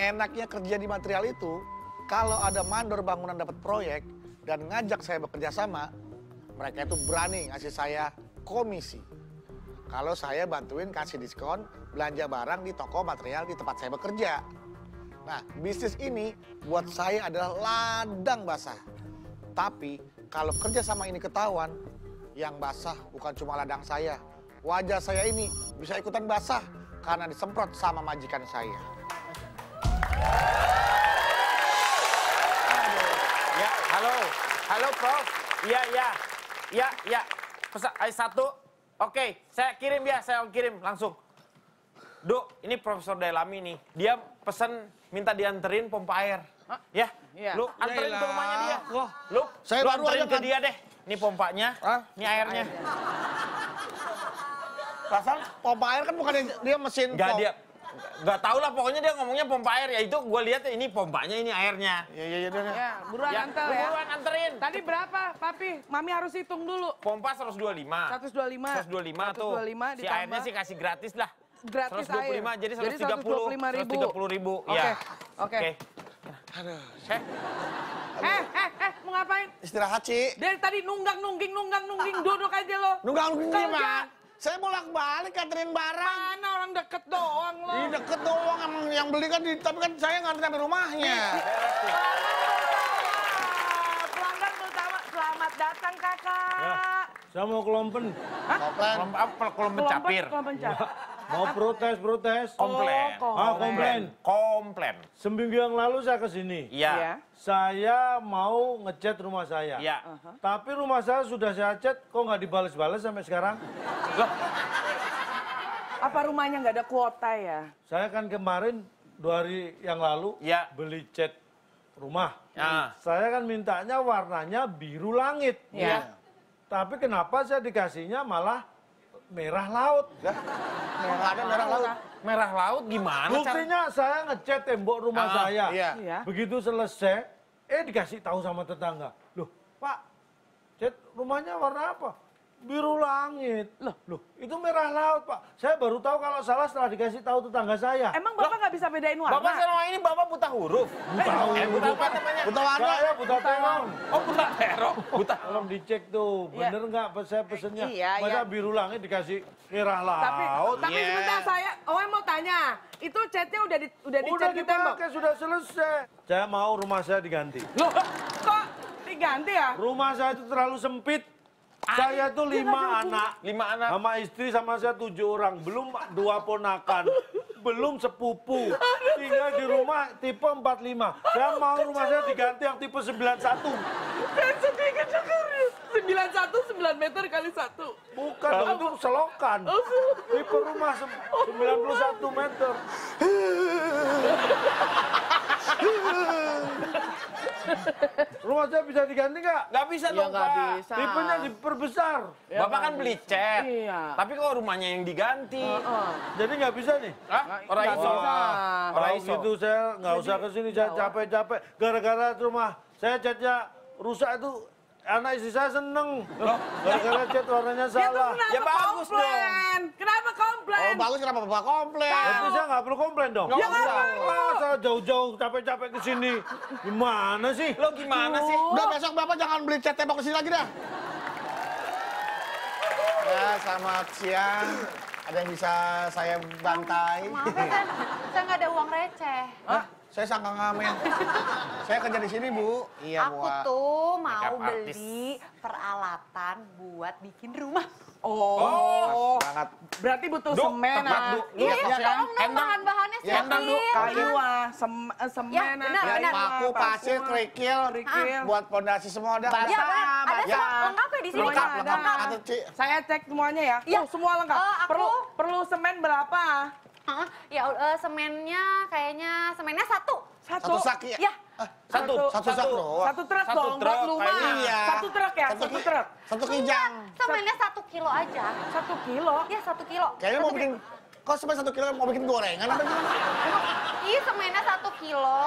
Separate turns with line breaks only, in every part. enaknya kerja di material itu, kalau ada mandor bangunan dapat proyek dan ngajak saya bekerja sama, mereka itu berani ngasih saya komisi. Kalau saya bantuin kasih diskon, belanja barang di toko material di tempat saya bekerja. Nah, bisnis ini buat saya adalah ladang basah. Tapi kalau kerja sama ini ketahuan, yang basah bukan cuma ladang saya. Wajah saya ini bisa ikutan basah karena disemprot sama majikan saya.
Ya, halo. Halo, Prof. Iya, iya. Iya, iya. Pesan ay, satu. Oke, saya kirim ya, saya kirim langsung. Duk, ini Profesor Dailami nih. Dia pesan minta dianterin pompa air. Ya,
Iya.
lu anterin ke
Yaelah.
rumahnya dia. Lu,
Saya
lu
baru
anterin
aja
ke
kan-
dia deh. Ini pompanya,
Hah?
ini airnya.
Pasal pompa air kan bukan yang- dia mesin
Gak
pom-
dia, gak tau lah pokoknya dia ngomongnya pompa air. Ya itu gue lihat ini pompanya, ini airnya.
Iya, iya, iya. iya.
Ya, buruan
Ya,
antar
lu
ya.
buruan anterin.
Tadi berapa, Papi? Mami harus hitung dulu.
Pompa 125.
125.
125 tuh.
125
si airnya
ditambah.
sih kan kasih gratis lah.
Gratis
125,
air.
jadi
Jadi
130.
125.000.
130 ribu.
Oke,
Ya.
oke.
Eh,
Eh, eh, eh, mau ngapain?
Istirahat, Ci.
Dari tadi nunggang nungging nunggang nungging duduk aja lo.
Nunggang nungguin
Kerja.
gimana? Saya bolak-balik anterin barang.
Mana orang deket doang lo.
Ini deket doang emang yang beli kan di, tapi kan saya nganterin sampai rumahnya.
Pelanggan pertama, selamat datang
Ya,
kakak.
Saya mau kelompen,
Koplen.
Kalau apa kalau mencapir?
Kan Kelompok pencapir.
mau protes, protes.
Komplain.
Oh,
Ah, komplain.
Komplain.
Seminggu yang lalu saya ke sini.
Iya.
Iya.
Saya mau ngecat rumah saya.
Iya.
Ah.
Tapi rumah saya sudah saya cat, kok nggak dibales-bales sampai sekarang?
Apa rumahnya nggak ada kuota ya?
Saya kan kemarin dua hari yang lalu
Iya.
beli cat rumah.
Ah.
Saya kan mintanya warnanya biru langit.
Iya.
Tapi kenapa saya dikasihnya malah merah laut?
Nggak ada merah laut.
Merah laut gimana? cara-
Buktinya saya ngecat tembok rumah
Ah,
saya.
iya.
Iya.
Begitu selesai, eh dikasih tahu sama tetangga. Loh, Pak, cat rumahnya warna apa? Biru langit. Loh, loh, itu merah laut, Pak. Saya baru tahu kalau salah setelah dikasih tahu tetangga saya.
Emang bapak nggak bisa bedain warna?
Bapak selama ini bapak buta huruf.
Buta
Eh,
huruf.
buta apa namanya?
Buta warna.
saya buta terong.
Oh, buta terong. Buta.
Tolong dicek tuh,
Iya.
bener nggak pe- saya pesennya?
Iya,
Masa
iya.
biru langit dikasih merah laut?
Tapi, tapi
iya.
sebentar saya, oh mau tanya, itu catnya udah di, udah
Udah
dicat di tembok?
dipakai, sudah selesai. Saya mau rumah saya diganti.
Loh, kok diganti ya?
Rumah saya itu terlalu sempit. Saya tuh lima anak.
Lima anak.
Sama istri sama saya tujuh orang. Belum dua ponakan. Belum sepupu. Tinggal di rumah tipe 45. Saya mau rumah saya diganti yang tipe 91.
Dan sedikit Sembilan satu, sembilan meter kali satu.
Bukan, dong, itu selokan. Tipe rumah se- 91 meter. Rumah saya bisa diganti nggak?
Gak bisa dong,
Iya, nggak
Pak.
bisa.
Tipenya diperbesar.
Bapak kan beli cat.
Iya.
Tapi kok rumahnya yang diganti?
Jadi nggak bisa nih?
Hah? Orang
Ah, nggak
iso.
bisa.
Orang
Kalau
iso.
gitu saya nggak usah ke sini, saya capek-capek. Gara-gara rumah saya catnya rusak itu anak istri saya seneng. Gara-gara cat warnanya
Dia tuh
salah.
kenapa
Ya bagus dong.
komplain? Kenapa komplain? Iya,
Kalau bagus kenapa bapak komplain?
Tapi saya nggak perlu komplain dong.
Nggak
Jangan
usah.
perlu.
Masa jauh-jauh capek-capek ke sini? Gimana sih?
Lo gimana sih?
Udah besok bapak jangan beli cat tembok kesini lagi dah. Ya, selamat siang. Ada yang bisa saya bantai?
Maaf ya, saya, saya nggak ada uang receh.
Hah? Saya sangka ngamen. saya kerja di sini, Bu. Iya,
Aku tuh mau
Makeup artist.
beli peralatan buat bikin rumah.
Oh,
Banget.
berarti butuh
Duk,
semen,
tebak,
ah.
Duk. Duk,
Iya,
tebak, ya.
tolong dong
Endang.
bahan-bahannya
Ya,
sedikit.
endang, Duk.
Kayu, ah, sem eh, semen,
Ya,
ah.
benar,
Kayu,
benar.
ah,
Paku, Iya, pasir,
ah.
kerikil.
Kerikil.
Buat pondasi semua udah.
Basah,
Iya kan? Ada
basah.
semua lengkap ya di sini?
Lengkap,
Semuanya
lengkap.
ada.
Atau, Ci.
Saya cek semuanya ya.
Iya.
Oh, semua lengkap.
Eh, aku-
Perlu perlu semen berapa?
Hah? Ya eh, semennya kayaknya semennya satu.
Satu sak, ya?
Iya.
Ya.
Satu,
Satu-
Satu sak doang.
Satu truk
Satu
dong, buat
truk,
rumah.
kayaknya.
Iya.
Satu truk ya, satu
ki-
truk.
Iya.
Satu kijang.
Semennya satu kilo aja.
Satu kilo.
Ya satu kilo.
Kayaknya mau
Satu
bikin... Kok sampai satu kilo mau bikin gorengan apa gimana?
kilo. Iya semennya satu kilo.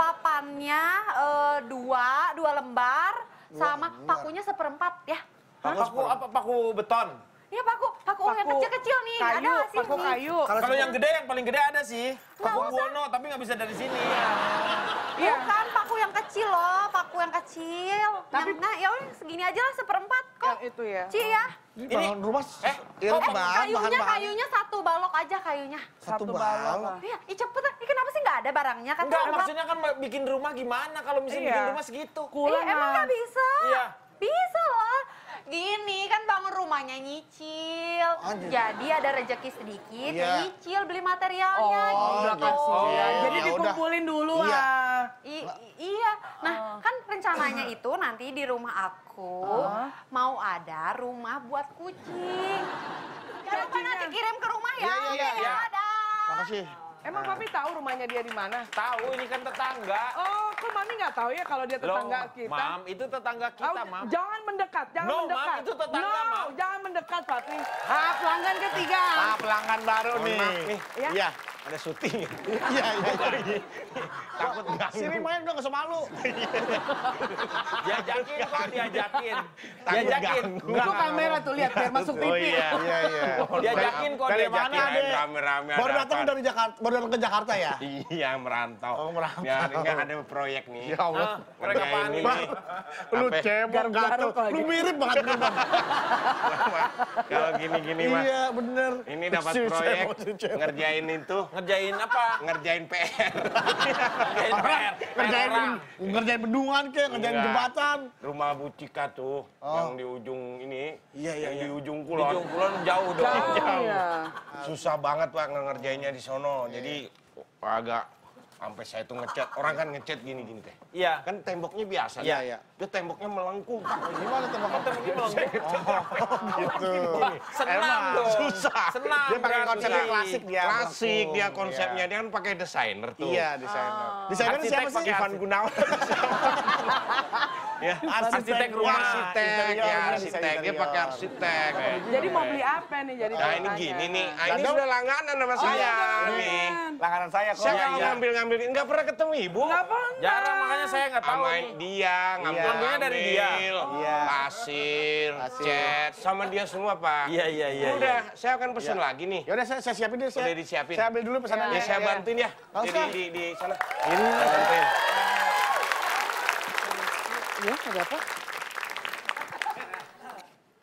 Papannya eh, dua, dua lembar. Sama pakunya seperempat ya.
Paku apa paku beton?
Iya paku, paku, ungu yang
Paku
kecil-kecil nih. ada
Kayu,
nggak sih?
paku kayu.
Kalau yang gede yang paling gede ada sih.
Nggak
Paku
usah.
Buwono tapi nggak bisa dari sini.
Iya.
Bukan paku yang kecil loh, paku yang kecil.
Tapi-
yang, nah, ya udah segini aja lah seperempat kok.
Yang itu ya.
Ci ya.
Ini
Ini-
bahan rumah
eh,
eh,
kok-
Eh,
bahan, bahan,
kayunya,
bahan.
kayunya satu balok aja kayunya.
Satu
balok
balok.
lah.
Iya, ih cepet. Ih, kenapa sih nggak ada barangnya? Kan
Enggak,
kalau-
maksudnya kan bikin rumah gimana kalau misalnya
Iya.
bikin rumah segitu.
Ih, emang
Kulangan.
nggak bisa.
Iya.
Bisa loh. Gini kan bangun rumahnya nyicil.
Anjir.
Jadi ada rezeki sedikit,
Iya.
nyicil beli materialnya gitu.
udah
kasih.
Oh,
ya.
iya,
Jadi
ya udah.
dikumpulin dulu
Iya.
ah.
I- i- iya. Nah, kan rencananya itu nanti di rumah aku
Oh.
Ah.
mau ada rumah buat kucing. Ya, lupa nanti kirim ke rumah ya.
Iya, iya, iya,
Oke,
iya.
dadah.
Makasih.
Emang Mami tahu rumahnya dia di mana?
Tahu ini kan tetangga.
Oh, kok Mami nggak tahu ya kalau dia tetangga
Loh,
kita?
Mam, itu tetangga kita,
Ah,
Mam.
Jangan mendekat, jangan
No, Mam,
mendekat.
itu tetangga,
no,
Mam.
jangan mendekat, Papi. Ha, pelanggan ketiga.
Ah, pelanggan baru
Mohon
nih.
maaf nih.
Iya.
Iya.
Ada syuting ya?
Iya, iya, iya.
Takut ganggu.
Sini main dong, gak usah malu.
Diajakin kok, diajakin.
Takut
Diajakin.
ganggu.
Itu kamera tuh, lihat, biar masuk TV.
Oh iya.
Iya, iya.
Diajakin kok
Dari
dia mana
Jakarta,
deh.
Rame-rame
Baru
iya, ada
datang
apa?
dari Jakarta, baru datang ke Jakarta ya?
Iya merantau.
Oh, merantau.
Biar enggak ada proyek nih.
Ya Allah.
mereka
Ngerjain
panik.
ini.
Lu
Apa?
cebong gatel,
Garuk-garuk lagi.
lu mirip banget bener banget.
Kalau gini-gini mah.
Iya, bener.
Ini dapat
Si
proyek
cebong, si cebong.
ngerjain itu,
Ngerjain apa?
ngerjain PR.
Ngerjain PR.
Ngerjain,
orang.
ngerjain bendungan ke, ngerjain
Enggak.
jembatan.
Rumah Bucika tuh yang di ujung ini,
Oh. Iya, iya,
yang
iya.
di ujung
Di
kulon.
Jungkulon jauh dong.
Jauh ya.
Susah banget Pak ngerjainnya di sono.
Iya,
Jadi agak sampai saya tuh ngecat. Orang kan ngecat gini-gini teh.
Iya.
Kan temboknya
Iya,
biasa. ya.
iya.
Dia temboknya melengkung.
Gimana tembak kamu? Gitu.
Senang
Emang,
dong.
susah.
Senang.
Dia pakai
berarti.
konsep yang klasik dia.
Klasik dia
Iya.
konsepnya. Dia kan pakai desainer tuh.
Iya, desainer. Desainer
Arsitek
siapa sih?
pakai
kan Ivan Gunawan. ya,
Arsitek rumah.
arsitek,
Interior,
ya
dia
arsitek.
desain
Dia pakai
interior.
arsitek.
Jadi mau beli apa nih? Jadi
Nah ini
ceritanya?
gini nih, ah, ini
Dadang-
sudah langganan sama saya nih.
Langganan saya kok.
Saya
Iya,
kalau
iya.
ngambil-ngambil, nggak pernah ketemu ibu.
Nggak pernah.
Jarang makanya saya nggak tahu.
Sama Iya.
nih.
dia,
Ngambilnya
ngambil-ngambil.
dari dia.
Iya.
Pasir, cat, sama dia semua pak.
Iya, iya, iya,
Udah, saya akan pesen lagi nih.
Ya udah saya, saya siapin dulu. saya-
Udah disiapin.
Saya ambil dulu pesanannya.
Ya saya
Iya.
bantuin ya.
Nggak
Jadi
usah.
di, di sana. Ini bantuin.
Iya, ada apa?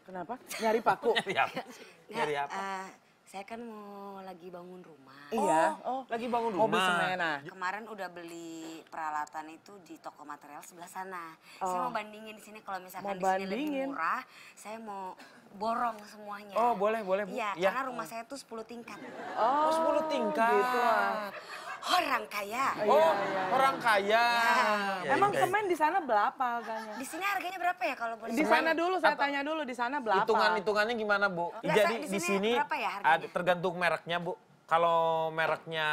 Kenapa? Nyari paku.
Iya. Nyari
Nggak,
apa?
eh, saya kan mau lagi bangun rumah.
Iya. Oh,
Lagi bangun rumah.
mobil semen. Nah,
Kemarin udah beli peralatan itu di toko material sebelah sana. Saya
Oh.
mau bandingin di sini kalau misalkan
Mau
di sini lebih
bandingin.
murah, saya mau borong semuanya.
Oh, boleh, boleh, Bu.
Iya,
Iya.
karena gitu. rumah saya tuh 10 tingkat.
Oh, 10 tingkat.
Orang kaya.
Oh, orang
iya,
kaya. Ya,
Emang
ya.
semen di sana berapa harganya?
Di sini harganya berapa ya kalau boleh?
Di
tahu?
sana dulu, saya tanya dulu. Di sana berapa?
Hitungan-hitungannya gimana, Bu?
Enggak,
Jadi
saya-
di
di
sini
sini berapa ya harganya?
ada- tergantung mereknya, Bu. Kalau mereknya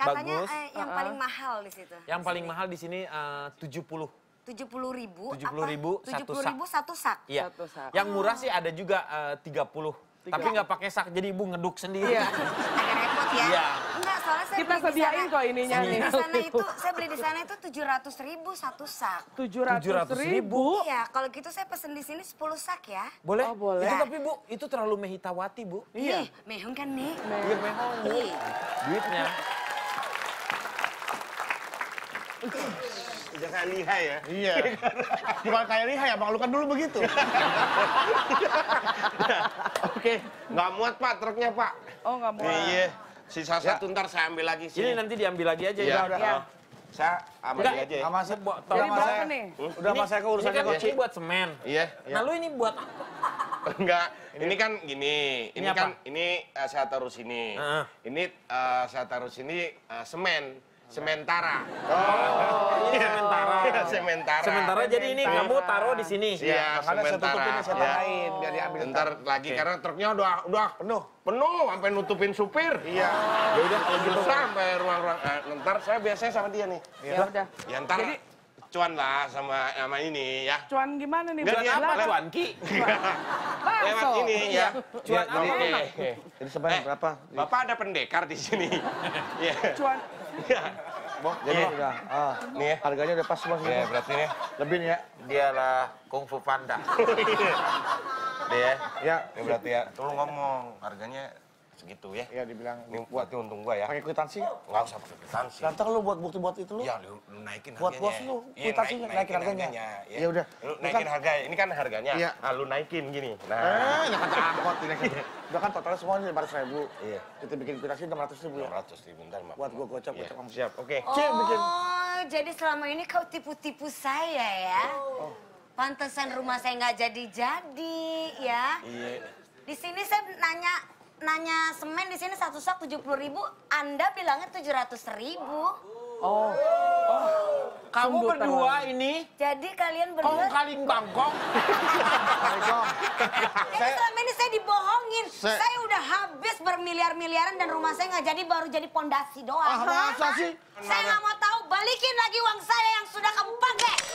Katanya
bagus,
eh, yang paling mahal di situ.
yang paling mahal di sini eh, 70.
tujuh puluh ribu.
70.000 satu sak.
ribu satu sak.
Iya.
Satu sak.
Yang murah sih ada juga eh, 30. Tapi nggak pakai sak, jadi Ibu ngeduk sendiri.
Iya.
agak repot ya.
Iya.
Enggak, soalnya saya
Kita
beli di
sediain
sana-
kok ininya
saya beli
nih.
Di sana itu, saya beli di sana itu tujuh ratus ribu satu sak.
Tujuh ratus
700.000.
ribu.
Iya, kalau gitu saya pesen di sini 10 sak ya.
Boleh?
Oh, boleh.
Itu tapi Bu, itu terlalu mehitawati, Bu.
Iya. Nih, mehong kan nih.
Iya, memang Bu.
Ih.
Duitnya.
Udah kayak lihai ya.
Iya. Bukan kayak Riha ya, Bang. Lu kan dulu begitu.
Oke, nggak muat pak truknya pak.
Oh, nggak murah.
Iya, sisa satu ntar saya ambil lagi
Ini
sini.
nanti diambil lagi aja ya.
Iya.
udah.
Iya.
Saya ambil
Enggak.
aja ya.
Sama saya,
Jadi
tolong sama
berapa
saya.
nih?
Udah sama saya
Ini
keurusannya
kan
kok.
ini buat semen.
Iya, iya.
Nah, lu ini buat apa?
Enggak, ini kan gini, ini,
Ini apa?
kan ini eh, saya taruh sini,
Heeh.
ini eh, saya taruh sini eh, semen, sementara,
Ini sementara.
sementara.
Sementara jadi ini kamu taruh di sini.
Makanya
Iya,
saya
sementara.
tutupin ya, saya
Iya.
tandain biar diambil.
Ntar lagi karena truknya udah udah
Penuh.
penuh sampai nutupin supir. Iya. Ya udah kalau gitu sampai ruang-ruang eh, ntar saya biasanya sama dia nih.
Ya udah.
Ya ntar cuan lah sama sama ini ya.
Cuan gimana nih?
Nggak,
Cuan
iya.
apa?
Lewat.
Cuan Ki.
Lewat ini ya.
Cuan
Biar-
apa?
Oke, oke.
Jadi sebenarnya
Eh,
berapa?
Bapak ada pendekar di sini. Iya.
Cuan.
Iya.
Bang. Jadi
Iya.
udah. ah.
Nih ya.
Harganya udah pas Bang.
Iya, berarti nih.
Lebih nih ya.
Dialah kungfu panda.
Deh.
Ya.
Ini berarti Oh, iya. ya. Tolong ngomong harganya segitu ya.
Iya,
Ya dibilang
Ini buat ini untung gua ya.
Pakai kwitansi nggak?
Enggak usah pakai kwitansi.
Ganteng lu buat bukti buat itu lu.
Ya, lu lu naikin harganya.
Buat bos lu,
Iya,
kuitansinya,
naik-
naikin harganya.
Ya.
Ya udah.
Lu
Lu
naikin
kan-
harga. Ini kan harganya.
Iya.
Ah, lu naikin gini. Nah.
Eh, udah kata angkot ini kan. Udah kan totalnya semuanya lima ratus ribu.
Iya.
Kita bikin kuitansi enam ratus ribu ya.
600 ribu ntar Mak.
Buat gua gocap,
Iya.
gocap kamu.
Siap, oke.
Cek bikin.
Oh, jadi selama ini kau tipu-tipu saya ya?
Oh.
Pantesan rumah saya nggak jadi-jadi ya?
Iya.
Di sini saya nanya nanya semen di sini satu sak tujuh ribu, Anda bilangnya tujuh ratus ribu.
Kamu
Sungguh
berdua ini
Oh,
Jadi kalian
kong
berdua,
kaling bangkong.
jadi selama ini saya dibohongin.
Saya-
Saya udah habis bermiliar-miliaran dan rumah saya nggak jadi baru jadi pondasi doang.
Ah, masa sih?
Saya nggak mau tahu, balikin lagi uang saya yang sudah kamu pakai.